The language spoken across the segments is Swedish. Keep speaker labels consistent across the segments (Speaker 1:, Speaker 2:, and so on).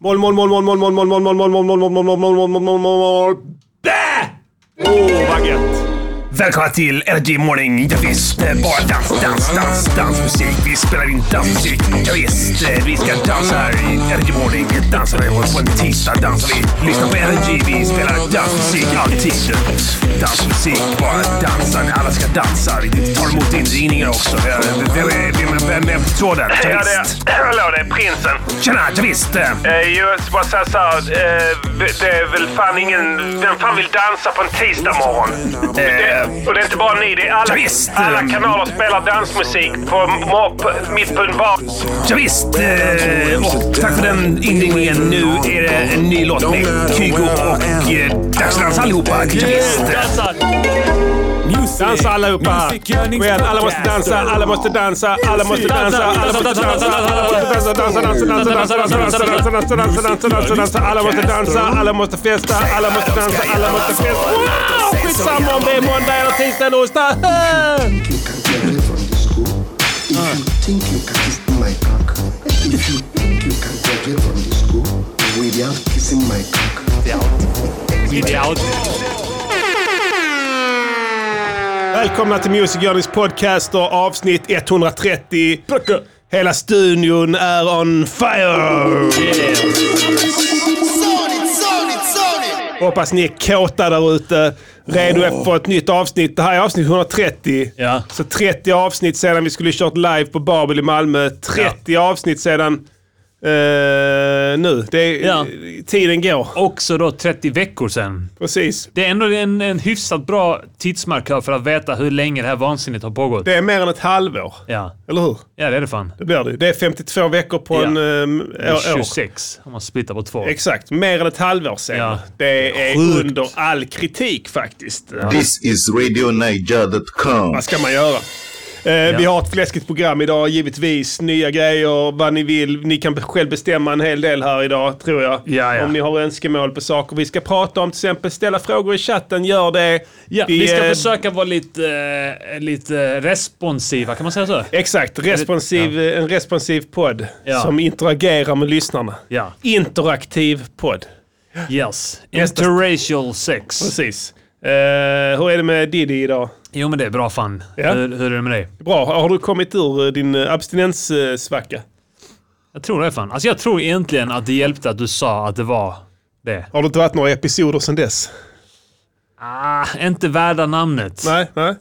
Speaker 1: Mål, mål, mål, mål, mål, mål, mål, mål, mål, mål, mål, mål, mål, mål, mål, mål, mål, mål, mål, mål. Bä! Åh, vad gött!
Speaker 2: Välkomna till Energy Morning. Det finns eh, bara dans, dans, dans, dansmusik. Vi spelar in dansmusik. Ja, visst, eh, vi ska dansa här i Energy Morning. Vi dansar vi på en tisdag. Dansar vi, lyssnar på Energy. Vi spelar dansmusik alltid. Dansmusik, bara dansa. när Alla ska dansa. Vi tar emot inringningar också. Eh, Vem är, vem är, vem är på tråden? Ja,
Speaker 3: Ja, det är,
Speaker 2: visst.
Speaker 3: hallå, det är prinsen.
Speaker 2: Tjena, ja, visst. eh,
Speaker 3: Eh, jag ska bara säga så här, eh, det är väl fan ingen... Vem fan vill dansa på en tisdag morgon? Det, och det är inte bara ni, det är alla,
Speaker 2: Visst,
Speaker 3: alla
Speaker 2: ehm.
Speaker 3: kanaler spelar dansmusik på, på, på, mitt på en bar.
Speaker 2: Ja, visst. Eh, och tack för den inringningen. Nu är det en ny låt med Kygo och eh, Dagsdans allihopa. Ja, visst.
Speaker 1: Dansa allihopa! Kom igen, alla måste dansa, alla måste dansa, alla måste dansa, alla måste dansa, alla måste dansa, dansa, dansa, dansa, dansa, dansa, dansa, dansa, dansa, dansa, dansa, dansa, dansa, alla måste dansa, alla måste festa, alla måste dansa, alla måste festa. Wow! Skitsamma om det är måndag eller tisdag eller onsdag.
Speaker 4: you can get away from the school, if you think you can kiss my cock, if you think you can get away from the school without kissing my cock,
Speaker 1: Välkomna till Music Journeys podcast och avsnitt 130. Hela studion är on fire! Hoppas ni är kåta där ute. Redo för ett nytt avsnitt. Det här är avsnitt 130.
Speaker 5: Ja.
Speaker 1: Så 30 avsnitt sedan vi skulle kört live på Babel i Malmö. 30 avsnitt sedan eh, nu. Det är,
Speaker 5: Ja.
Speaker 1: Tiden går.
Speaker 5: Också då 30 veckor sedan.
Speaker 1: Precis.
Speaker 5: Det är ändå en, en hyfsat bra tidsmarkör för att veta hur länge det här vansinnet har pågått.
Speaker 1: Det är mer än ett halvår.
Speaker 5: Ja.
Speaker 1: Eller hur?
Speaker 5: ja, det är det fan.
Speaker 1: Det blir det ju. Det är 52 veckor på
Speaker 5: Ja.
Speaker 1: en um, år.
Speaker 5: 26 om man splittar på två.
Speaker 1: Exakt. Mer än ett halvår sedan.
Speaker 5: Ja.
Speaker 1: Det är
Speaker 5: Sjukt.
Speaker 1: under all kritik faktiskt.
Speaker 6: This is RadioNiger.com.
Speaker 1: Vad ska man göra? Eh, Vi har ett fläskigt program idag givetvis. Nya grejer, vad ni vill. Ni kan själv bestämma en hel del här idag, tror jag.
Speaker 5: Ja, ja.
Speaker 1: Om ni har önskemål på saker vi ska prata om. Till exempel ställa frågor i chatten, gör det.
Speaker 5: Ja, vi ska
Speaker 1: eh,
Speaker 5: försöka vara lite, eh, lite responsiva, kan man säga så?
Speaker 1: Exakt, responsiv, en responsiv podd
Speaker 5: Ja.
Speaker 1: som interagerar med lyssnarna.
Speaker 5: Ja.
Speaker 1: Interaktiv podd.
Speaker 5: Yes.
Speaker 1: Nästa-
Speaker 5: Interracial sex.
Speaker 1: Precis. Eh, hur är det med Diddy idag?
Speaker 5: Jo men det är bra fan.
Speaker 1: Ja.
Speaker 5: Hur, hur är det med dig?
Speaker 1: Bra, har du kommit ur eh, din eh, abstinenssvacka?
Speaker 5: Jag tror det fan. Alltså jag tror egentligen att det hjälpte att du sa att det var det.
Speaker 1: Har det inte varit några episoder sedan dess?
Speaker 5: Ah, inte värda namnet.
Speaker 1: Nej, nej.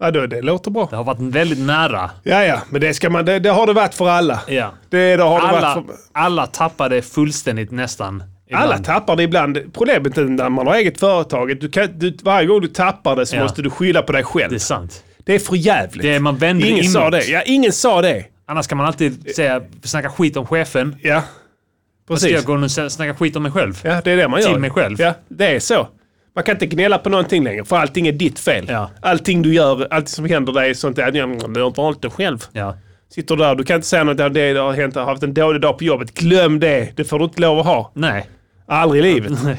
Speaker 1: Ja, då, det låter bra.
Speaker 5: Det har varit väldigt nära.
Speaker 1: Ja, ja, men det, ska man, det, det har det varit för alla.
Speaker 5: Ja.
Speaker 1: Det, det har det
Speaker 5: Alla,
Speaker 1: varit för,
Speaker 5: alla tappade fullständigt nästan. ibland.
Speaker 1: alla tappar det ibland. Problemet är när man har eget företag. att Du kan, du, varje gång du tappar det så
Speaker 5: Ja.
Speaker 1: måste du skylla på dig själv.
Speaker 5: Det är sant.
Speaker 1: Det är för jävligt.
Speaker 5: Det är, man vänder
Speaker 1: ingen
Speaker 5: inåt.
Speaker 1: sa det. Ja, ingen sa det.
Speaker 5: Annars kan man alltid säga, snacka skit om chefen.
Speaker 1: Ja,
Speaker 5: Ska jag
Speaker 1: precis.
Speaker 5: gå och sä- snacka skit om mig själv?
Speaker 1: Ja, det är det man gör.
Speaker 5: Till mig själv.
Speaker 1: Ja, det är så. Man kan inte gnälla på någonting längre, för allting är ditt fel.
Speaker 5: Ja.
Speaker 1: Allting du gör, allt som händer dig är sånt där, ja, men du har inte själv.
Speaker 5: Ja.
Speaker 1: Sitter där, du kan inte säga något, ja, det har hänt, jag har haft en dålig dag på jobbet. Glöm det! Det får du inte lov att ha.
Speaker 5: Nej.
Speaker 1: Aldrig i livet.
Speaker 5: Nej.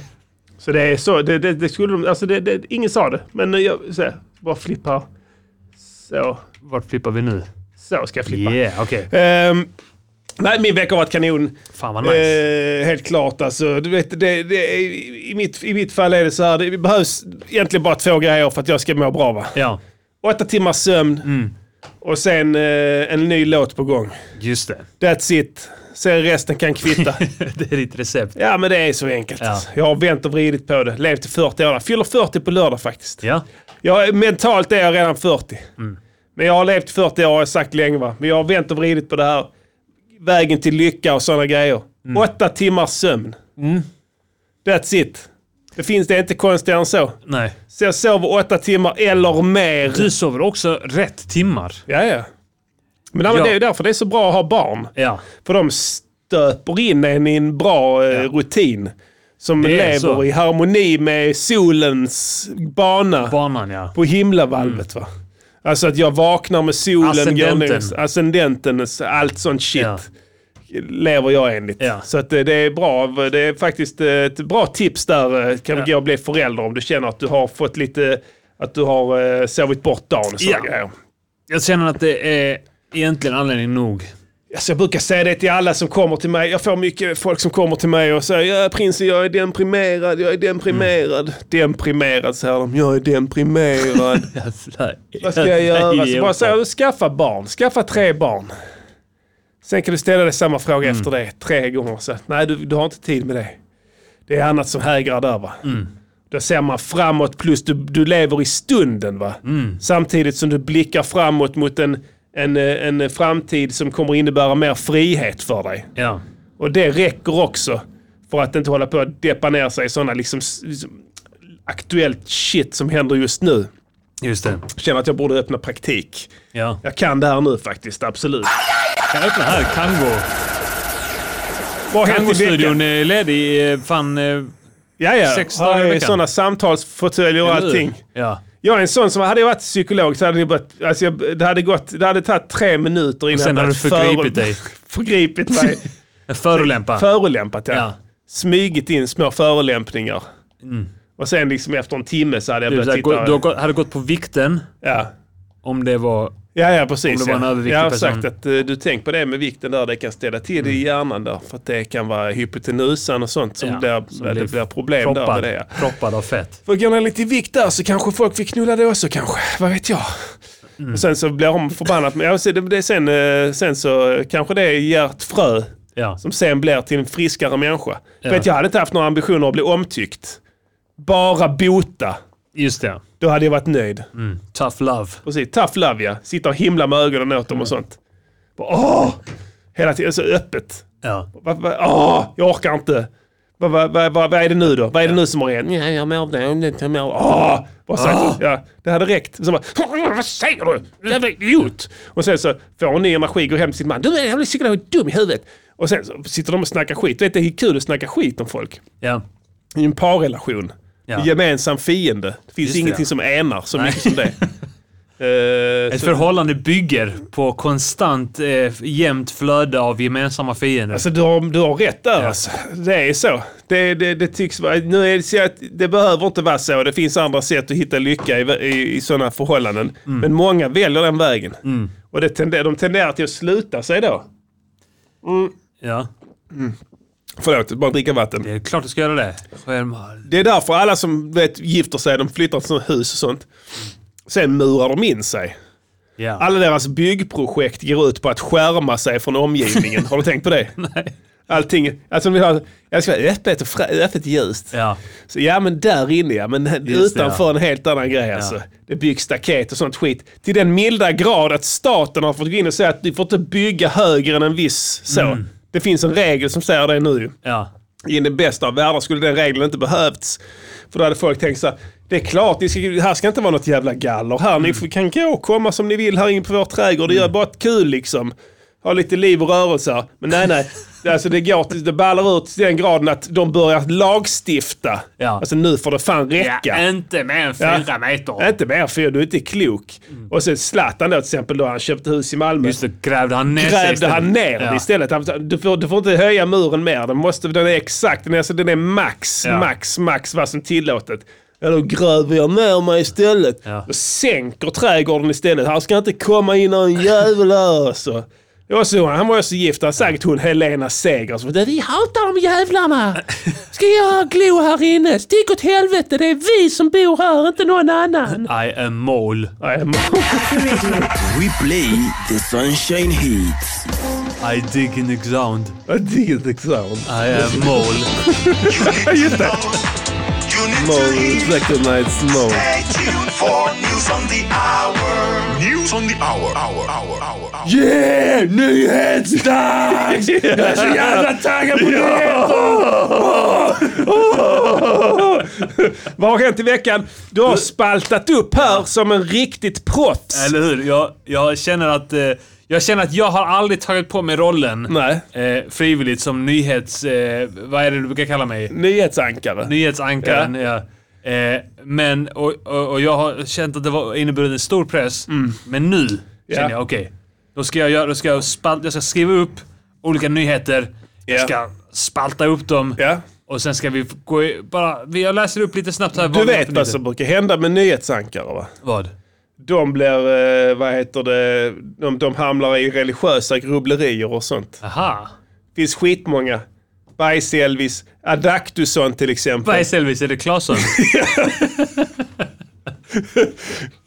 Speaker 1: Så det är så. Det, det, det skulle de, alltså det, det, ingen sa det, men eh, jag så, här, bara flippar. Så,
Speaker 5: Vart flippar vi nu?
Speaker 1: så ska jag flippa.
Speaker 5: Yeah, okej.
Speaker 1: Ehm, nej, min vecka har varit kanon.
Speaker 5: Fan vad nice.
Speaker 1: Eh, helt klart alltså. Du vet, det, det, i, i, mitt, I mitt fall är det så här. Det behövs egentligen bara två grejer för att jag ska må bra. Va?
Speaker 5: Ja,
Speaker 1: Åtta timmars sömn
Speaker 5: Mm.
Speaker 1: och sen eh, en ny låt på gång.
Speaker 5: just det.
Speaker 1: That's it. Sen resten kan kvitta.
Speaker 5: det är ditt recept.
Speaker 1: ja, men det är så enkelt.
Speaker 5: Ja.
Speaker 1: alltså. Jag har vänt och vridit på det. Levt i 40 år. Fyller 40 på lördag faktiskt.
Speaker 5: Ja. Mm.
Speaker 1: Jag, mentalt är jag redan 40. Men jag har levt 40 år, har jag sagt länge va. Men jag har vänt och vridit på det här. Vägen till lycka och sådana grejer.
Speaker 5: Mm.
Speaker 1: Åtta timmars sömn. That's it. Det finns det är inte konstigare än så.
Speaker 5: Nej.
Speaker 1: Så jag sover åtta timmar eller mer.
Speaker 5: Du sover också rätt timmar.
Speaker 1: Ja, ja. Men, nej, men
Speaker 5: Ja.
Speaker 1: det är ju därför det är så bra att ha barn.
Speaker 5: Ja.
Speaker 1: För de stöper in en i en bra eh, rutin. Som
Speaker 5: Det är
Speaker 1: lever
Speaker 5: så.
Speaker 1: i harmoni med solens bana
Speaker 5: Banan ja.
Speaker 1: på himlavalvet. Va? Alltså att jag vaknar med solen,
Speaker 5: Mm. Ascendenten.
Speaker 1: går ner, ascendenten, allt sånt shit.
Speaker 5: Ja.
Speaker 1: Lever jag enligt.
Speaker 5: Ja.
Speaker 1: Så att eh, det är bra. Det är faktiskt eh, ett bra tips där. eh, Kan gå och bli förälder om du känner att du har fått lite, att du har eh, sovit bort dagen och sådana
Speaker 5: Ja.
Speaker 1: grejer.
Speaker 5: Jag känner att det är egentligen anledning nog
Speaker 1: Alltså jag brukar säga det till alla som kommer till mig. Jag får mycket folk som kommer till mig och säger ja, prinsen jag är deprimerad, jag är deprimerad. Deprimerad säger de, jag är deprimerad. Vad ska jag göra? Så bara säger du, skaffa barn. Skaffa tre barn. Sen kan du ställa dig samma fråga efter det tre gånger. Så, att, nej, du, du har inte tid med det. Det är annat som hägrar där va. Då ser man framåt plus du, du lever i stunden va. Samtidigt som du blickar framåt mot en, en, eh, en framtid som kommer innebära mer frihet för dig.
Speaker 5: Ja.
Speaker 1: Och det räcker också för att inte hålla på att deppa ner sig i sådana liksom, s- liksom aktuellt shit som händer just nu.
Speaker 5: Just det.
Speaker 1: Jag känner att jag borde öppna praktik.
Speaker 5: Ja.
Speaker 1: Jag kan det här nu faktiskt, absolut.
Speaker 5: Kan öppna här. Kango.
Speaker 1: Vad har hänt i
Speaker 5: Kango-studion
Speaker 1: veckan?
Speaker 5: är ledig i eh, fan... eh,
Speaker 1: Ja,
Speaker 5: Sex
Speaker 1: ja.
Speaker 5: dagar
Speaker 1: Har
Speaker 5: i
Speaker 1: jag
Speaker 5: veckan.
Speaker 1: sådana samtalsfåtöljer och allting.
Speaker 5: Ja.
Speaker 1: Jag är en sån som, hade jag varit psykolog så hade det, börjat, alltså jag, det hade gått, det hade tagit tre minuter innan
Speaker 5: sen
Speaker 1: jag
Speaker 5: hade
Speaker 1: börjat
Speaker 5: du förgripit dig.
Speaker 1: förgripit mig.
Speaker 5: Förolämpa.
Speaker 1: Förolämpat ja.
Speaker 5: Ja. Mm.
Speaker 1: Smygit in små förolämpningar. Och sen liksom efter en timme så hade jag
Speaker 5: Du,
Speaker 1: börjat
Speaker 5: såhär,
Speaker 1: titta.
Speaker 5: gå, du har gått- hade gått på vikten
Speaker 1: ja.
Speaker 5: om det var...
Speaker 1: Ja, ja, precis.
Speaker 5: Om det var en
Speaker 1: ja.
Speaker 5: överviktig
Speaker 1: jag har
Speaker 5: person. Mm.
Speaker 1: sagt att eh, du tänk på det med vikten där. Det kan ställa till det i hjärnan där. För att det kan vara hypotenusan och sånt som,
Speaker 5: Ja,
Speaker 1: blir,
Speaker 5: som
Speaker 1: det
Speaker 5: blir
Speaker 1: blir problem där med
Speaker 5: proppad,
Speaker 1: det. Ja.
Speaker 5: proppad av fett.
Speaker 1: För går det lite i vikt där så kanske folk vill knulla det också kanske. Vad vet jag?
Speaker 5: Mm.
Speaker 1: Och sen så blir hon förbannad. Men jag ser det, det är sen, eh, sen så kanske det ger ett frö
Speaker 5: Ja.
Speaker 1: som sen blir till en friskare människa. Ja. Vet, jag hade inte haft några ambitioner att bli omtyckt. Bara bota.
Speaker 5: Just det.
Speaker 1: Då hade jag varit nöjd.
Speaker 5: Tough love.
Speaker 1: Precis, tough love ja. Sitta och himla med ögonen åt dem och
Speaker 5: Mm.
Speaker 1: sånt. Bara, åh! Hela tiden så öppet.
Speaker 5: Ja.
Speaker 1: Va, va, åh, jag orkar inte. Va, va, va, va, vad är det nu då? Vad är det nu som har hänt? Ja, jag mår dåligt, jag mår... Åh! Bara så,
Speaker 5: Ah.
Speaker 1: här, ja, det hade räckt. Så bara, vad säger du? Jävla idiot! Och sen så får hon ny energi, går hem till sin man. Du är en jävla psykolog, är dum i huvudet. Och sen så sitter de och snackar skit. Du vet, det är kul att snacka skit om folk.
Speaker 5: Ja.
Speaker 1: I en parrelation.
Speaker 5: Ja.
Speaker 1: En gemensam fiende. Det finns
Speaker 5: Just det,
Speaker 1: ingenting
Speaker 5: ja.
Speaker 1: som enar så mycket som det. Eh,
Speaker 5: Ett
Speaker 1: så-
Speaker 5: förhållande bygger på konstant eh, jämnt flöde av gemensamma fiender.
Speaker 1: Alltså du har, du har rätt där alltså. Det är så. Det, det, det tycks vara... Nu är det, så att det behöver inte vara så. Det finns andra sätt att hitta lycka i, i, i sådana förhållanden.
Speaker 5: Mm.
Speaker 1: Men många väljer den vägen. Och det tender, de tenderar till att sluta sig då.
Speaker 5: ja.
Speaker 1: Förlåt, bara dricka vatten.
Speaker 5: Det är klart du ska göra det. Självmord.
Speaker 1: Det är därför alla som vet, gifter sig, de flyttar till sina hus och sånt. Sen murar de in sig.
Speaker 5: Ja.
Speaker 1: Alla deras byggprojekt går ut på att skärma sig från omgivningen. Har du tänkt på det?
Speaker 5: Nej.
Speaker 1: Allting. Alltså, de vill ha, jag ska vara öppet och frä, öppet och ljust.
Speaker 5: Ja.
Speaker 1: Så, ja men där inne ja, men
Speaker 5: Just det,
Speaker 1: utanför
Speaker 5: ja.
Speaker 1: en helt annan grej alltså. Det byggs staket och sånt skit. Till den milda grad att staten har fått gå in och säga att du får inte bygga högre än en viss så.
Speaker 5: Mm.
Speaker 1: Det finns en regel som säger det nu.
Speaker 5: Ja.
Speaker 1: I den bästa av världar skulle den regeln inte behövts. För då hade folk tänkt så här, det är klart, ni ska, här ska inte vara något jävla galler här.
Speaker 5: Mm.
Speaker 1: Ni får- kan gå och komma som ni vill här inne på vår trädgård. Det gör bara ett kul liksom. Ha lite liv och rörelse här. Men nej, nej. Det- Alltså det går till, det ballar ut till den graden att de börjar lagstifta.
Speaker 5: Ja.
Speaker 1: Alltså nu får det fan räcka.
Speaker 5: inte mer än
Speaker 1: Ja. Inte mer för du är inte klok. Och sen Zlatan då till exempel, då han köpte hus i Malmö
Speaker 5: Mm. Just det, grävde han ner sig
Speaker 1: grävde
Speaker 5: istället.
Speaker 1: han ner den
Speaker 5: Ja.
Speaker 1: istället. Han, sa, du, får, du får inte höja muren mer. Den, måste, den är exakt, den är, alltså, den är max,
Speaker 5: Ja.
Speaker 1: max, max vad som tillåtet. Ja, då gräver jag ner mig istället.
Speaker 5: Ja.
Speaker 1: Då sänker trädgården istället. Han ska inte komma in någon jävel här alltså. Det var så, han var ju så gift, han sagt hon Helena Seger. Så, vi hatar de jävlarna! Ska jag glo här inne? Stick åt helvete, det är vi som bor här, inte någon annan.
Speaker 5: I am mole.
Speaker 1: Nej, men-
Speaker 7: We play the sunshine heat.
Speaker 5: I dig in the ground.
Speaker 1: Jag digger inte sound.
Speaker 5: I am mole.
Speaker 1: Just det.
Speaker 8: Mode
Speaker 1: recognize mode.
Speaker 8: for news on the hour. News on the hour. Hour. Hour. Hour. hour.
Speaker 1: Yeah! Nyhetsdags! Jag är så jävla taggad på nyheter! Vad har hänt i veckan? Du har spaltat upp här som en riktigt proffs.
Speaker 5: Eller hur? Jag, jag känner att... Eh, jag känner att jag har aldrig tagit på mig rollen
Speaker 1: Nej.
Speaker 5: eh, frivilligt som nyhets... Eh, vad är det du brukar kalla mig?
Speaker 1: Nyhetsankare.
Speaker 5: Nyhetsankaren, ja. Eh, men, och, och, och jag har känt att det var inneburit en stor press. Men nu känner jag, okej. då ska jag, göra, då ska jag, spalt, jag ska skriva upp olika nyheter.
Speaker 1: Ja.
Speaker 5: Jag ska spalta upp dem.
Speaker 1: Ja.
Speaker 5: Och sen ska vi f- gå i, bara, vi- jag läser upp lite snabbt här.
Speaker 1: Du
Speaker 5: vi har
Speaker 1: vet
Speaker 5: för
Speaker 1: vad
Speaker 5: nyheter.
Speaker 1: som brukar hända med nyhetsankare va?
Speaker 5: Vad?
Speaker 1: de blir, eh, vad heter det, de, de hamnar i religiösa grubblerier och sånt.
Speaker 5: Aha.
Speaker 1: finns skitmånga. Bajs-Elvis, Adaktusson till exempel.
Speaker 5: Vad är Selvis? Är det Claesson?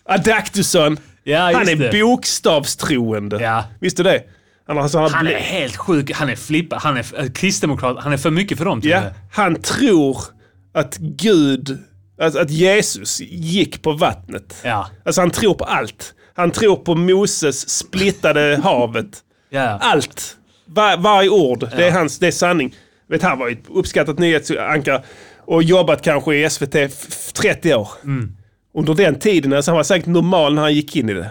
Speaker 1: Adaktusson,
Speaker 5: Ja,
Speaker 1: han
Speaker 5: just
Speaker 1: är
Speaker 5: det.
Speaker 1: bokstavstroende.
Speaker 5: Ja.
Speaker 1: Visste du det? Han, har- alltså, han,
Speaker 5: Han
Speaker 1: bli-
Speaker 5: är helt sjuk. Han är flippa. Han är eh, kristdemokrat. Han är för mycket för dem till
Speaker 1: ja,
Speaker 5: och med.
Speaker 1: han tror att Gud, att, att Jesus gick på vattnet.
Speaker 5: Ja.
Speaker 1: Alltså han tror på allt. Han tror på Moses splittade havet.
Speaker 5: Ja.
Speaker 1: Allt. Var, varje ord. Det, är hans, det är sanning. Vet, han var ju ett uppskattat nyhetsankare och jobbat kanske i SVT f- f- 30 år.
Speaker 5: Mm.
Speaker 1: Under den tiden, alltså han var säkert normal när han gick in i det.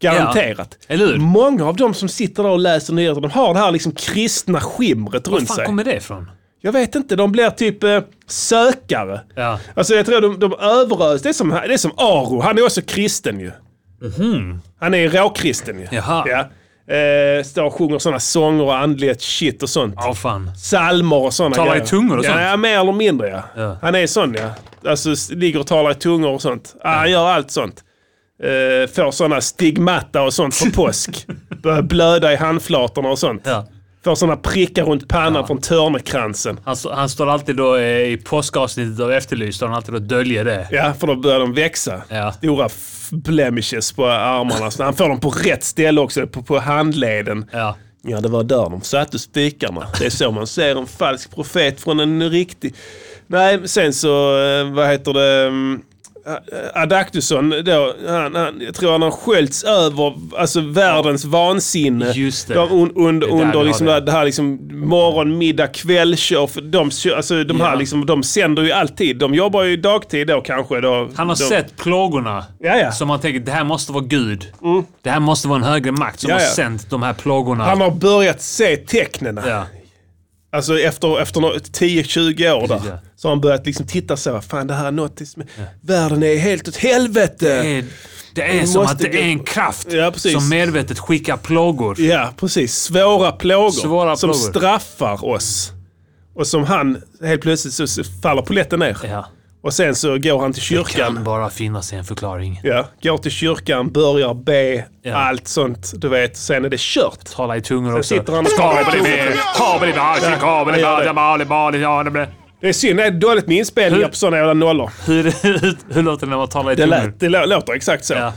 Speaker 1: Garanterat.
Speaker 5: Ja. Eller hur?
Speaker 1: Många av dem som sitter där och läser nyheter, de har det här liksom kristna skimret
Speaker 5: Var
Speaker 1: runt
Speaker 5: fan
Speaker 1: sig.
Speaker 5: kommer det ifrån?
Speaker 1: Jag vet inte, de blir typ eh, sökare.
Speaker 5: Ja.
Speaker 1: Alltså jag tror de, de överös. Det är, som, det är som Aro, han är också kristen ju. Han är råkristen ju.
Speaker 5: Mhm. Jaha.
Speaker 1: Ja. Eh, står och sjunger sådana sånger och andligt shit och sånt.
Speaker 5: Åh fan.
Speaker 1: Salmer och sådana
Speaker 5: Talar i tungor och
Speaker 1: ja,
Speaker 5: sånt?
Speaker 1: Ja, mer eller mindre ja.
Speaker 5: Ja.
Speaker 1: Han är sån ja. Alltså s- ligger och talar i tungor och sånt. Ah, Han gör allt sånt. Eh, får sådana stigmata och sånt på påsk. Börjar blöda i handflatorna och sånt.
Speaker 5: Ja.
Speaker 1: Får sådana prickar runt pannan från törnekransen.
Speaker 5: Han, st- han står alltid då eh, i påskavsnittet av Efterlyst, står han alltid och döljer det.
Speaker 1: Ja, för då börjar de växa.
Speaker 5: Ja.
Speaker 1: Stora f- blemishes på armarna. Så han får dem på rätt ställe också, på, på handleden.
Speaker 5: Ja.
Speaker 1: Ja, det var där de satte spikarna. Det är så man ser en falsk profet från en riktig. Nej, sen så, eh, vad heter det? mm, A- Adaktusson, då, han, han, jag tror han har sköljts över alltså, världens vansinne.
Speaker 5: Just det.
Speaker 1: Där un, un,
Speaker 5: där vi
Speaker 1: under
Speaker 5: har
Speaker 1: liksom,
Speaker 5: det.
Speaker 1: det. här- det här liksom, morgon, middag, kväll. Kör, för de, kör- alltså, de, här,
Speaker 5: Ja.
Speaker 1: liksom, de sänder ju alltid. De jobbar ju dagtid då kanske. Då,
Speaker 5: Han har
Speaker 1: de,
Speaker 5: sett plågorna.
Speaker 1: Ja, ja. Mm.
Speaker 5: Som han tänker, det här måste vara Gud. Det här måste vara en högre makt som
Speaker 1: Ja,
Speaker 5: har
Speaker 1: ja.
Speaker 5: sänt de här plågorna.
Speaker 1: Han har börjat se tecknen.
Speaker 5: ja.
Speaker 1: Alltså efter, efter nå- 10-20 år
Speaker 5: Precis,
Speaker 1: där.
Speaker 5: ja.
Speaker 1: Så har han börjat liksom titta så. Fan det här är något som... Världen är helt åt helvete.
Speaker 5: det är, det är
Speaker 1: Vi
Speaker 5: som
Speaker 1: måste
Speaker 5: att det
Speaker 1: gå-
Speaker 5: är en kraft
Speaker 1: Ja, precis.
Speaker 5: som medvetet skickar plågor.
Speaker 1: Ja, precis. Svåra plågor.
Speaker 5: Svåra
Speaker 1: som
Speaker 5: plågor.
Speaker 1: straffar oss. Och som han helt plötsligt så så faller polletten ner.
Speaker 5: Ja.
Speaker 1: Och sen så går han till
Speaker 5: Det kan
Speaker 1: kyrkan.
Speaker 5: bara finnas en förklaring.
Speaker 1: Ja, går till kyrkan, börjar be,
Speaker 5: Ja.
Speaker 1: allt sånt. Du vet, sen är det kört.
Speaker 5: Tala i tungor också.
Speaker 1: sitter han och- Ja, ja,
Speaker 5: Hur,
Speaker 1: Det är synd, det är dåligt med inspelningar
Speaker 5: Hur-
Speaker 1: på sådana jävla nollor.
Speaker 5: hur, hur låter det när man talar i
Speaker 1: Det,
Speaker 5: tungor?
Speaker 1: lät, det lå- låter exakt så.
Speaker 5: Mm. Ja.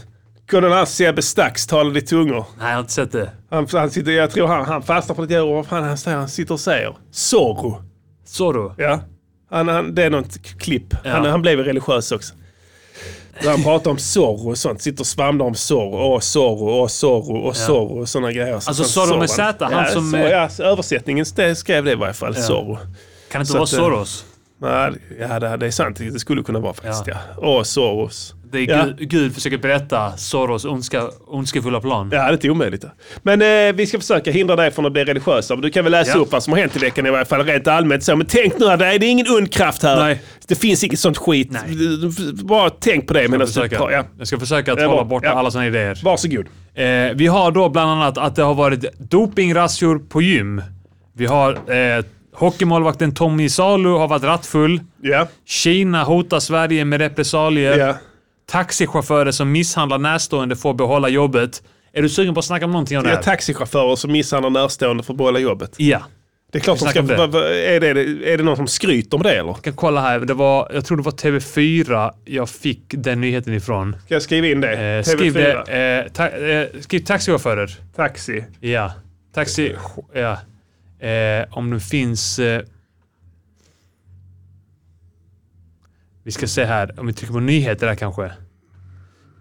Speaker 1: Kunde den här Sebbe Stax talade i tungor.
Speaker 5: Nej, jag har inte sett det.
Speaker 1: Han, han sitter, jag tror han, han fastnar på något jävla vad fan han, säger, han sitter och säger. Zorro.
Speaker 5: Zorro.
Speaker 1: Ja. Han, han, det är något k- klipp. Han, han blev ju religiös också. Där han pratar om Zorro och sånt. Sitter och svamlar om Zorro. Åh Zorro, åh Zorro, åh Zorro och sådana grejer. Så
Speaker 5: Alltså,
Speaker 1: sen
Speaker 5: Zorro med
Speaker 1: Zorro-
Speaker 5: Z, han
Speaker 1: ja,
Speaker 5: som eh,
Speaker 1: Så,
Speaker 5: är-
Speaker 1: ja, så översättningen st- skrev det i varje fall. Zorro.
Speaker 5: Kan det inte
Speaker 1: Så
Speaker 5: vara
Speaker 1: att, eh,
Speaker 5: Soros?
Speaker 1: Nej, ja, det, det är sant. Det skulle kunna vara faktiskt. Ja.
Speaker 5: Ja.
Speaker 1: Åh Zorros.
Speaker 5: Det är
Speaker 1: ja.
Speaker 5: Gud, Gud försöker berätta Soros ondska, ondskefulla plan.
Speaker 1: Ja, det är inte omöjligt. Men eh, vi ska försöka hindra dig från att bli religiös. Men du kan väl läsa
Speaker 5: Ja.
Speaker 1: upp vad som har hänt i veckan i varje fall rent allmänt. Så, men tänk nu, att det är det är ingen ond kraft här.
Speaker 5: Nej.
Speaker 1: Det finns inget sånt skit.
Speaker 5: Nej.
Speaker 1: Bara tänk på det medan
Speaker 5: Jag,
Speaker 1: du
Speaker 5: försöker,
Speaker 1: pratar. Ja.
Speaker 5: jag ska försöka
Speaker 1: är
Speaker 5: trolla
Speaker 1: bra.
Speaker 5: bort
Speaker 1: Ja.
Speaker 5: alla såna idéer.
Speaker 1: Varsågod.
Speaker 5: Eh, vi har då bland annat att det har varit dopingrazzior på gym. Vi har eh, hockeymålvakten Tommy Salu har varit rattfull.
Speaker 1: Ja.
Speaker 5: Kina hotar Sverige med repressalier.
Speaker 1: Ja.
Speaker 5: Taxichaufförer som misshandlar närstående får behålla jobbet. Är du sugen på att snacka om någonting om det
Speaker 1: Ja,
Speaker 5: här?
Speaker 1: taxichaufförer som misshandlar närstående för att behålla jobbet.
Speaker 5: Ja.
Speaker 1: Det är klart de ska...
Speaker 5: snackar om det.
Speaker 1: va- va- Är det, är det någon som skryter om det eller?
Speaker 5: Jag kan kolla här. Det var, jag tror det var TV4 jag fick den nyheten ifrån.
Speaker 1: Ska jag skriva in det?
Speaker 5: Eh,
Speaker 1: TV4.
Speaker 5: skriv, det, eh, ta, eh, skriv taxichaufförer.
Speaker 1: Taxi.
Speaker 5: Ja. Taxi... Ja. Eh, om det finns... Eh, vi ska se här. Om vi trycker på nyheter där kanske.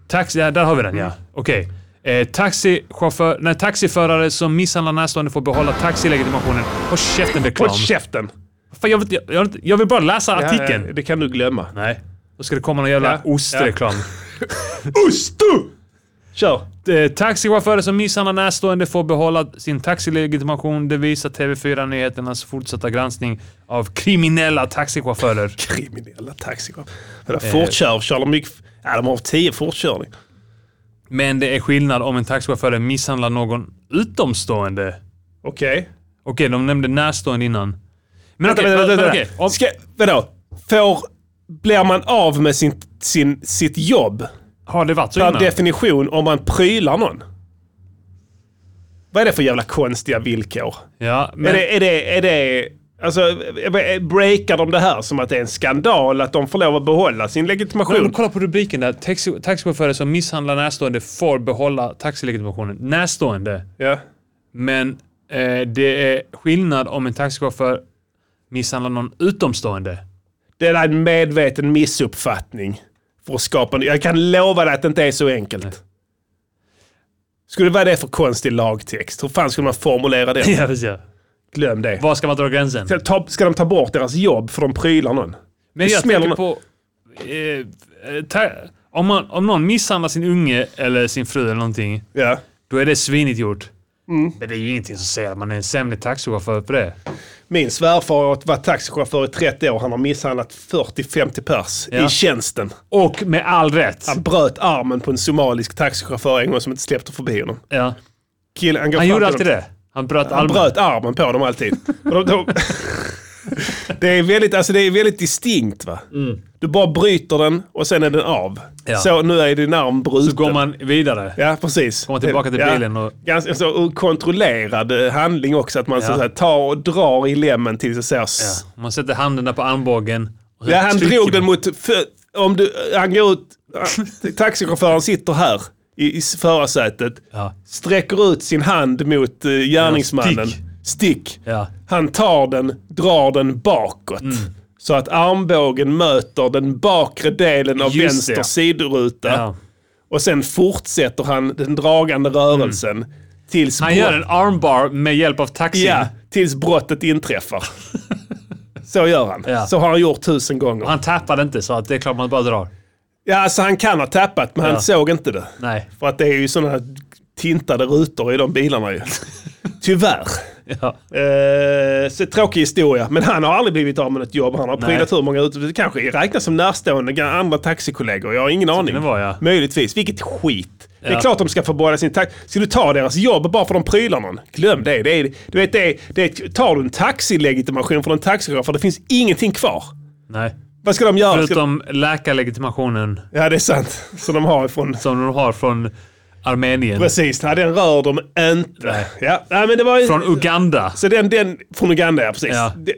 Speaker 5: Taxi, ja, där har vi den
Speaker 1: Mm.
Speaker 5: ja. Okej. Eh, taxichaufför, nej, taxiförare som misshandlar närstående får behålla taxilegitimationen. Håll käften reklam.
Speaker 1: Håll käften!
Speaker 5: Fan, jag, vill, inte- jag, vill inte- jag vill bara läsa artikeln.
Speaker 1: Ja, det kan du glömma.
Speaker 5: Nej. Då ska det komma någon jävla
Speaker 1: Ja.
Speaker 5: ostreklam.
Speaker 1: Ustu! Kör!
Speaker 5: Eh, Taxichaufförer som misshandlar närstående får behålla sin taxilegitimation. Det visar TV4 Nyheternas fortsatta granskning av kriminella taxichaufförer.
Speaker 1: kriminella taxichaufförer. Eller
Speaker 5: Eh.
Speaker 1: fortkör, kör de mycket? Ja, de har tio fortkörning.
Speaker 5: Men det är skillnad om en taxichaufför misshandlar någon utomstående.
Speaker 1: Okej.
Speaker 5: Okej, de nämnde närstående innan. Men
Speaker 1: Vänta,
Speaker 5: okej,
Speaker 1: vänta,
Speaker 5: men
Speaker 1: vänta.
Speaker 5: okej,
Speaker 1: vänta.
Speaker 5: om-
Speaker 1: Ska, vadå? Får, blir man av med sin, sin, sitt jobb
Speaker 5: Har det varit så
Speaker 1: per
Speaker 5: innan?
Speaker 1: definition om man prylar någon. Vad är det för jävla konstiga villkor?
Speaker 5: Ja, men,
Speaker 1: Är det, är det, är det, alltså, eh, breakar de det här som att det är en skandal att de får lov att behålla sin
Speaker 5: Men om
Speaker 1: legitimation?
Speaker 5: du kollar på rubriken där. Taxi- Taxichaufförer som misshandlar närstående får behålla taxilegitimationen. Närstående.
Speaker 1: Ja.
Speaker 5: Men eh, det är skillnad om en taxichaufför misshandlar någon utomstående.
Speaker 1: Det är en medveten missuppfattning för att skapa en- Jag kan lova dig att det inte är så enkelt. Skulle vad är det för konstig lagtext? Hur fan skulle man formulera det?
Speaker 5: Ja, precis. ja.
Speaker 1: Glöm det.
Speaker 5: Var ska man dra gränsen?
Speaker 1: Ska, ta, ska de ta bort deras jobb för de prylar någon?
Speaker 5: Men jag
Speaker 1: smäller
Speaker 5: tänker på... Eh, eh, ta- om, man, om någon misshandlar sin unge eller sin fru eller någonting,
Speaker 1: Ja.
Speaker 5: då är det svinigt gjort.
Speaker 1: Mm.
Speaker 5: Men det är ju ingenting som säger att man är en sämre taxichaufför för det.
Speaker 1: Min svärfar har varit taxichaufför i 30 år. Han har misshandlat 40-50 pers
Speaker 5: Ja.
Speaker 1: i tjänsten.
Speaker 5: Och med all rätt.
Speaker 1: Han bröt armen på en somalisk taxichaufför en gång som inte släppte förbi honom.
Speaker 5: Ja.
Speaker 1: Killen, går
Speaker 5: Han
Speaker 1: fram
Speaker 5: gjorde
Speaker 1: till
Speaker 5: alltid
Speaker 1: dem.
Speaker 5: det. Han bröt
Speaker 1: Han
Speaker 5: armen.
Speaker 1: bröt armen på dem alltid. Och de, de, det, är väldigt, alltså det är väldigt distinkt. va? Du bara bryter den och sen är den av.
Speaker 5: Mm. Ja.
Speaker 1: Så nu är din arm bruten.
Speaker 5: Så går man vidare.
Speaker 1: Ja, precis.
Speaker 5: Kommer tillbaka till bilen och-
Speaker 1: Ganska så och kontrollerad eh, handling också. Att man så
Speaker 5: Ja.
Speaker 1: så här, tar och drar i lemmen tills det ser...
Speaker 5: Ja.
Speaker 1: s-
Speaker 5: Man sätter handen där på armbågen. och
Speaker 1: Ja, han
Speaker 5: trycker
Speaker 1: drog den
Speaker 5: man.
Speaker 1: mot... fö- om du, han går ut... ah, Taxichauffören sitter här i, i förarsätet.
Speaker 5: Ja.
Speaker 1: Sträcker ut sin hand mot eh, gärningsmannen.
Speaker 5: stick.
Speaker 1: stick.
Speaker 5: Ja. Mm.
Speaker 1: Han tar den, drar den bakåt. Så att armbågen möter den bakre delen av
Speaker 5: Just
Speaker 1: vänster
Speaker 5: det.
Speaker 1: sidoruta.
Speaker 5: Ja.
Speaker 1: Och sen fortsätter han den dragande rörelsen tills,
Speaker 5: Mm. Han
Speaker 1: brott-
Speaker 5: gör en armbar med hjälp av taxin.
Speaker 1: ja, tills brottet inträffar. Så gör han.
Speaker 5: Ja.
Speaker 1: Så har han gjort tusen gånger.
Speaker 5: Han tappade inte så att det är klart man bara drar.
Speaker 1: Ja, alltså han kan ha tappat, men
Speaker 5: Ja.
Speaker 1: han såg inte det.
Speaker 5: Nej.
Speaker 1: För att det är ju sådana tintade rutor i de bilarna ju. Tyvärr.
Speaker 5: Ja.
Speaker 1: Eh, så tråkig historia. Men han har aldrig blivit av med ett jobb. Han har
Speaker 5: Nej.
Speaker 1: prylat hur många ut. Det kanske räknas som närstående andra taxikollegor. Jag har ingen aning.
Speaker 5: det vara, ja.
Speaker 1: Möjligtvis. Vilket skit. Det
Speaker 5: Ja.
Speaker 1: är klart de ska få behålla sin taxi. Ska du ta deras jobb bara för de prylar någon? Glöm det. det, är, du vet, det, är, det är, tar du en taxilegitimation från en taxichaufför, det finns ingenting kvar.
Speaker 5: Nej.
Speaker 1: Vad ska de göra? Ska-
Speaker 5: Förutom läkarlegitimationen
Speaker 1: Ja, det är sant. Som de har från
Speaker 5: som de har från Armenien.
Speaker 1: Precis, nej, den rör de inte.
Speaker 5: Nej.
Speaker 1: Ja, nej, men det var ju...
Speaker 5: Från Uganda.
Speaker 1: så den, den, från Uganda, ja precis.
Speaker 5: Ja.
Speaker 1: De-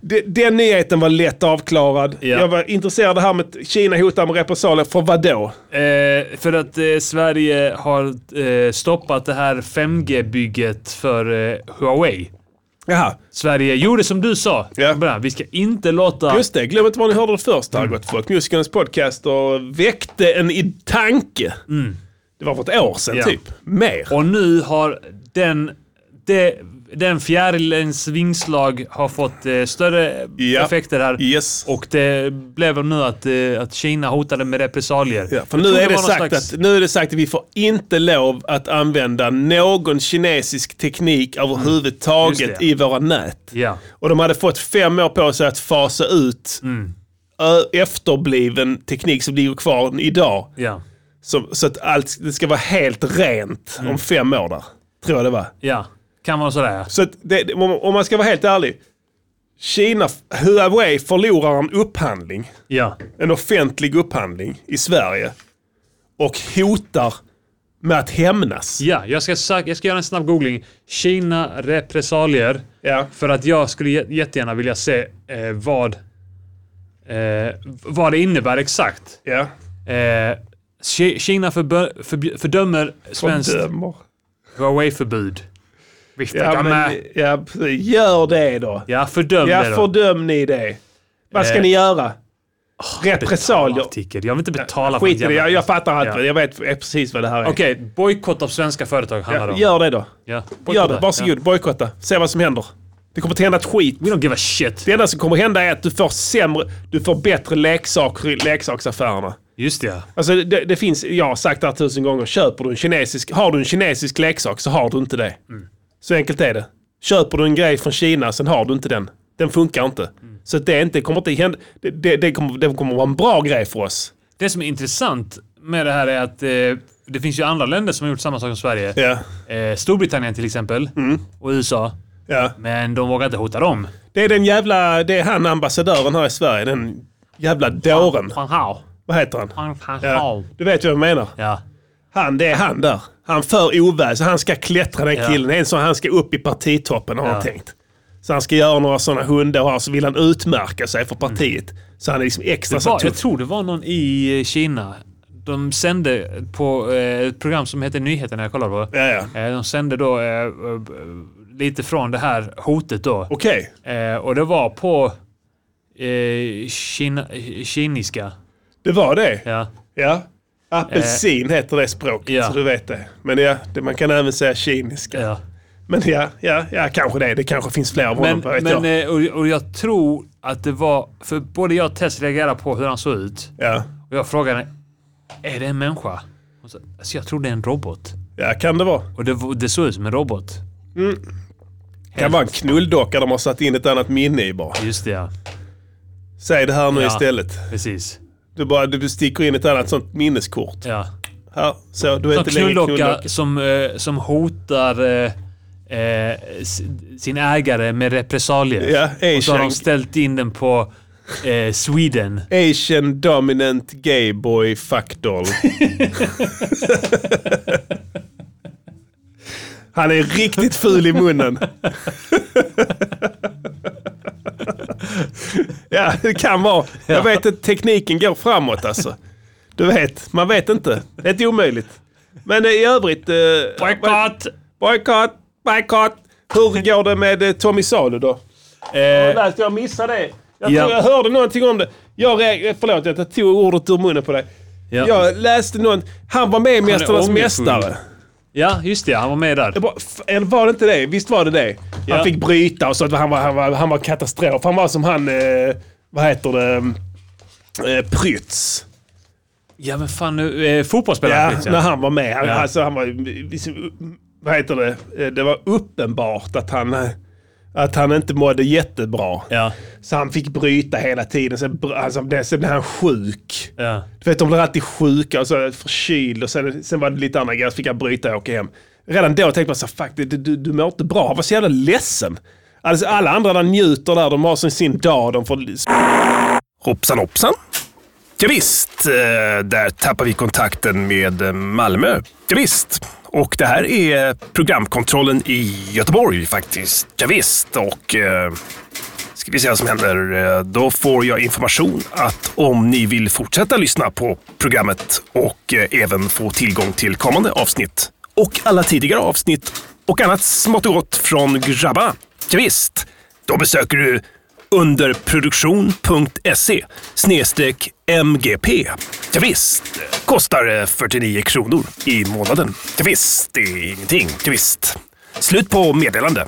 Speaker 1: de- Den nyheten var lätt avklarad.
Speaker 5: Ja.
Speaker 1: Jag var intresserad av det här med att Kina hotar med repressalier. För vad då?
Speaker 5: Eh, för att eh, Sverige har eh, stoppat det här 5G-bygget för eh, Huawei.
Speaker 1: Jaha,
Speaker 5: Sverige gjorde som du sa.
Speaker 1: Ja.
Speaker 5: Bra, Vi ska inte låta...
Speaker 1: just det. Glöm inte var ni hörde det först här, gott folk. Musikernas podcaster väckte en i tanke. Det var för ett år sedan
Speaker 5: Mm. Ja.
Speaker 1: typ. Mer.
Speaker 5: Och nu har den, det, den fjärilens vingslag har fått eh, större
Speaker 1: Ja.
Speaker 5: effekter här.
Speaker 1: Yes.
Speaker 5: Och det blev nu att, eh, att Kina hotade med repressalier.
Speaker 1: Ja, för nu
Speaker 5: Jag tror
Speaker 1: är, det
Speaker 5: var någon
Speaker 1: sagt
Speaker 5: slags-
Speaker 1: att, nu är det sagt att vi får inte lov att använda någon kinesisk teknik
Speaker 5: Mm. Just
Speaker 1: överhuvudtaget
Speaker 5: det.
Speaker 1: i våra nät.
Speaker 5: Ja.
Speaker 1: Och de hade fått fem år på sig att fasa ut ö- efterbliven teknik som ligger kvar idag.
Speaker 5: Ja.
Speaker 1: Så, så att allt det ska vara helt rent om fem år där. Tror jag det var.
Speaker 5: Ja. Kan vara sådär.
Speaker 1: Så att det, det- om, om man ska vara helt ärlig. Kina, Huawei förlorar en upphandling
Speaker 5: Ja.
Speaker 1: en offentlig upphandling i Sverige och hotar med att hämnas.
Speaker 5: Ja, jag ska, sök- jag ska göra en snabb googling. Kina repressalier.
Speaker 1: Ja.
Speaker 5: För att jag skulle jä- jättegärna vilja se eh, vad, eh, vad det innebär exakt.
Speaker 1: Ja.
Speaker 5: Eh, Ki- Kina förbö- förbj- fördömer svenskt
Speaker 1: Fördömer.
Speaker 5: Huawei-förbud. Vifta
Speaker 1: Ja,
Speaker 5: ja,
Speaker 1: men, ja, precis. gör det då.
Speaker 5: ja, fördöm
Speaker 1: Ja,
Speaker 5: det då.
Speaker 1: fördöm ni det. Vad ska
Speaker 5: Eh,
Speaker 1: ni göra?
Speaker 5: Betala
Speaker 1: Repressalier.
Speaker 5: artikel. Jag vill inte betala
Speaker 1: Skit i
Speaker 5: för
Speaker 1: det.
Speaker 5: en
Speaker 1: Jag, jag fattar allt.
Speaker 5: Ja.
Speaker 1: Jag vet precis vad det här är.
Speaker 5: Okej, bojkott av svenska företag handlar det
Speaker 1: Ja,
Speaker 5: om.
Speaker 1: gör det då.
Speaker 5: Ja,
Speaker 1: Gör
Speaker 5: bojkotta.
Speaker 1: det. Varsågod. Bojkotta. Se vad som händer. Det kommer inte hända ett skit.
Speaker 5: Ja. We don't give a shit.
Speaker 1: Det enda som kommer hända är att du får sämre... Du får bättre leksaker i leksaksaffärerna.
Speaker 5: Just det, ja.
Speaker 1: Alltså det, det finns, jag har sagt det här tusen gånger, köper du en kinesisk, har du en kinesisk leksak så har du inte det. Så enkelt är det. Köper du en grej från Kina, sen har du inte den. Den funkar inte. Så att det är inte, kommer inte hända, det, det, det, kommer, det kommer vara en bra grej för oss.
Speaker 5: Det som är intressant med det här är att eh, det finns ju andra länder som har gjort samma sak som Sverige.
Speaker 1: Ja.
Speaker 5: Eh, Storbritannien till exempel och USA.
Speaker 1: ja.
Speaker 5: Men de vågar inte hota dem.
Speaker 1: Det är den jävla, det är han ambassadören här i Sverige, den jävla dåren.
Speaker 5: Fan, how?
Speaker 1: Vad heter han?
Speaker 5: Han fan
Speaker 1: Ja,
Speaker 5: ja.
Speaker 1: du vet vad jag menar.
Speaker 5: ja.
Speaker 1: Han, det är han där. Han för oväsen. Han ska klättra den
Speaker 5: Ja.
Speaker 1: killen. Det är En som han ska upp i partitoppen har
Speaker 5: Ja.
Speaker 1: han tänkt. Så han ska göra några sådana hundar och så vill han utmärka sig för partiet. Så han är liksom extra
Speaker 5: Mm. Det
Speaker 1: så
Speaker 5: var, jag
Speaker 1: tuff.
Speaker 5: tror det var någon i eh, Kina. De sände på eh, ett program som hette Nyheterna, jag kollade på.
Speaker 1: Ja, ja.
Speaker 5: Eh, De sände då eh, eh, lite från det här hotet då.
Speaker 1: Okej.
Speaker 5: Eh, och det var på eh, kina, kinesiska.
Speaker 1: Det var det. Ja.
Speaker 5: Ja.
Speaker 1: Apelsin heter det språket,
Speaker 5: Eh. ja.
Speaker 1: så du vet det. Men ja, det, man kan även säga kinesiska.
Speaker 5: ja.
Speaker 1: Men ja, ja, ja, kanske det. Det kanske finns fler av honom,
Speaker 5: Men,
Speaker 1: vad vet
Speaker 5: men
Speaker 1: jag.
Speaker 5: eh, och, och jag tror att det var... För både jag och Tess reagerade på hur han såg ut.
Speaker 1: Ja.
Speaker 5: Och jag frågade är det en människa? Hon sa, alltså jag tror det är en robot.
Speaker 1: ja, kan det vara.
Speaker 5: Och det, var- det såg ut som en robot.
Speaker 1: Kan vara en knulldocka de har satt in ett annat minne i bara.
Speaker 5: Just det ja,
Speaker 1: Säg det här nu
Speaker 5: Ja.
Speaker 1: istället.
Speaker 5: precis.
Speaker 1: Du, bara, du sticker in ett annat sånt minneskort.
Speaker 5: Ja.
Speaker 1: Här, så, du är
Speaker 5: Som
Speaker 1: inte längre knulldocka.
Speaker 5: knulldocka som, eh, som hotar eh, eh, s- sin ägare med repressalier.
Speaker 1: Ja,
Speaker 5: och så har de
Speaker 1: A-shank.
Speaker 5: ställt in den på eh, Sweden.
Speaker 1: Asian dominant gay boy fuckdoll. Han är riktigt ful i munnen. ja, det kan vara. Jag vet att tekniken går framåt alltså. Du vet, man vet inte. Det är inte omöjligt. Men eh, i övrigt... eh,
Speaker 5: Boykott!
Speaker 1: Boykott! Boykott! Hur går det med eh, Tommy Salo då? Jag
Speaker 5: Eh,
Speaker 1: läste, jag missade det. Jag,
Speaker 5: Ja.
Speaker 1: tror jag hörde någonting om det. Jag reag- förlåt, jag tog ordet ur munnen på dig.
Speaker 5: Ja.
Speaker 1: Jag läste någon... Han var med i Mästarnas
Speaker 5: ångerfull.
Speaker 1: Mästare.
Speaker 5: ja, just det. Han var med där.
Speaker 1: Jag bara, f- Eller var det inte det? Visst var det det?
Speaker 5: Ja.
Speaker 1: Han fick bryta och så att han var, han var, han var katastrof. Han var som han... Eh, vad heter det? Eh, Prytz.
Speaker 5: Ja, men fan nu. Eh, fotbollsspelaren.
Speaker 1: Ja,
Speaker 5: Christian.
Speaker 1: när han var med. Han,
Speaker 5: Ja.
Speaker 1: alltså, han var, liksom, vad heter det? Eh, Det var uppenbart att han, eh, att han inte mådde jättebra.
Speaker 5: Ja.
Speaker 1: Så han fick bryta hela tiden. Sen, br- alltså, det- sen blev han sjuk.
Speaker 5: Ja.
Speaker 1: Du vet, de blir alltid sjuka och så förkyld. Och sen, sen var det lite andra grejer. Så fick han bryta och åka hem. Redan då tänkte man så här, fuck, du, du, du mår inte bra. Han var så jävla ledsen. Alltså, alla andra där njuter där. De har sin, sin dag. De får
Speaker 2: Hoppsan hoppsan. Ja, visst, eh, där tappar vi kontakten med eh, Malmö. Ja, visst. Och det här är programkontrollen i Göteborg faktiskt. Ja, visst. och eh, ska vi se vad som händer. Eh, Då får jag information att om ni vill fortsätta lyssna på programmet och eh, även få tillgång till kommande avsnitt och alla tidigare avsnitt och annat smått och gott från grabbarna. Ja, visst. då besöker du underproduktion.se snedstreck MGP. Ja, visst. kostar eh, 49 kronor i månaden. Ja, visst. det är ingenting. Ja, visst. Slut på meddelande.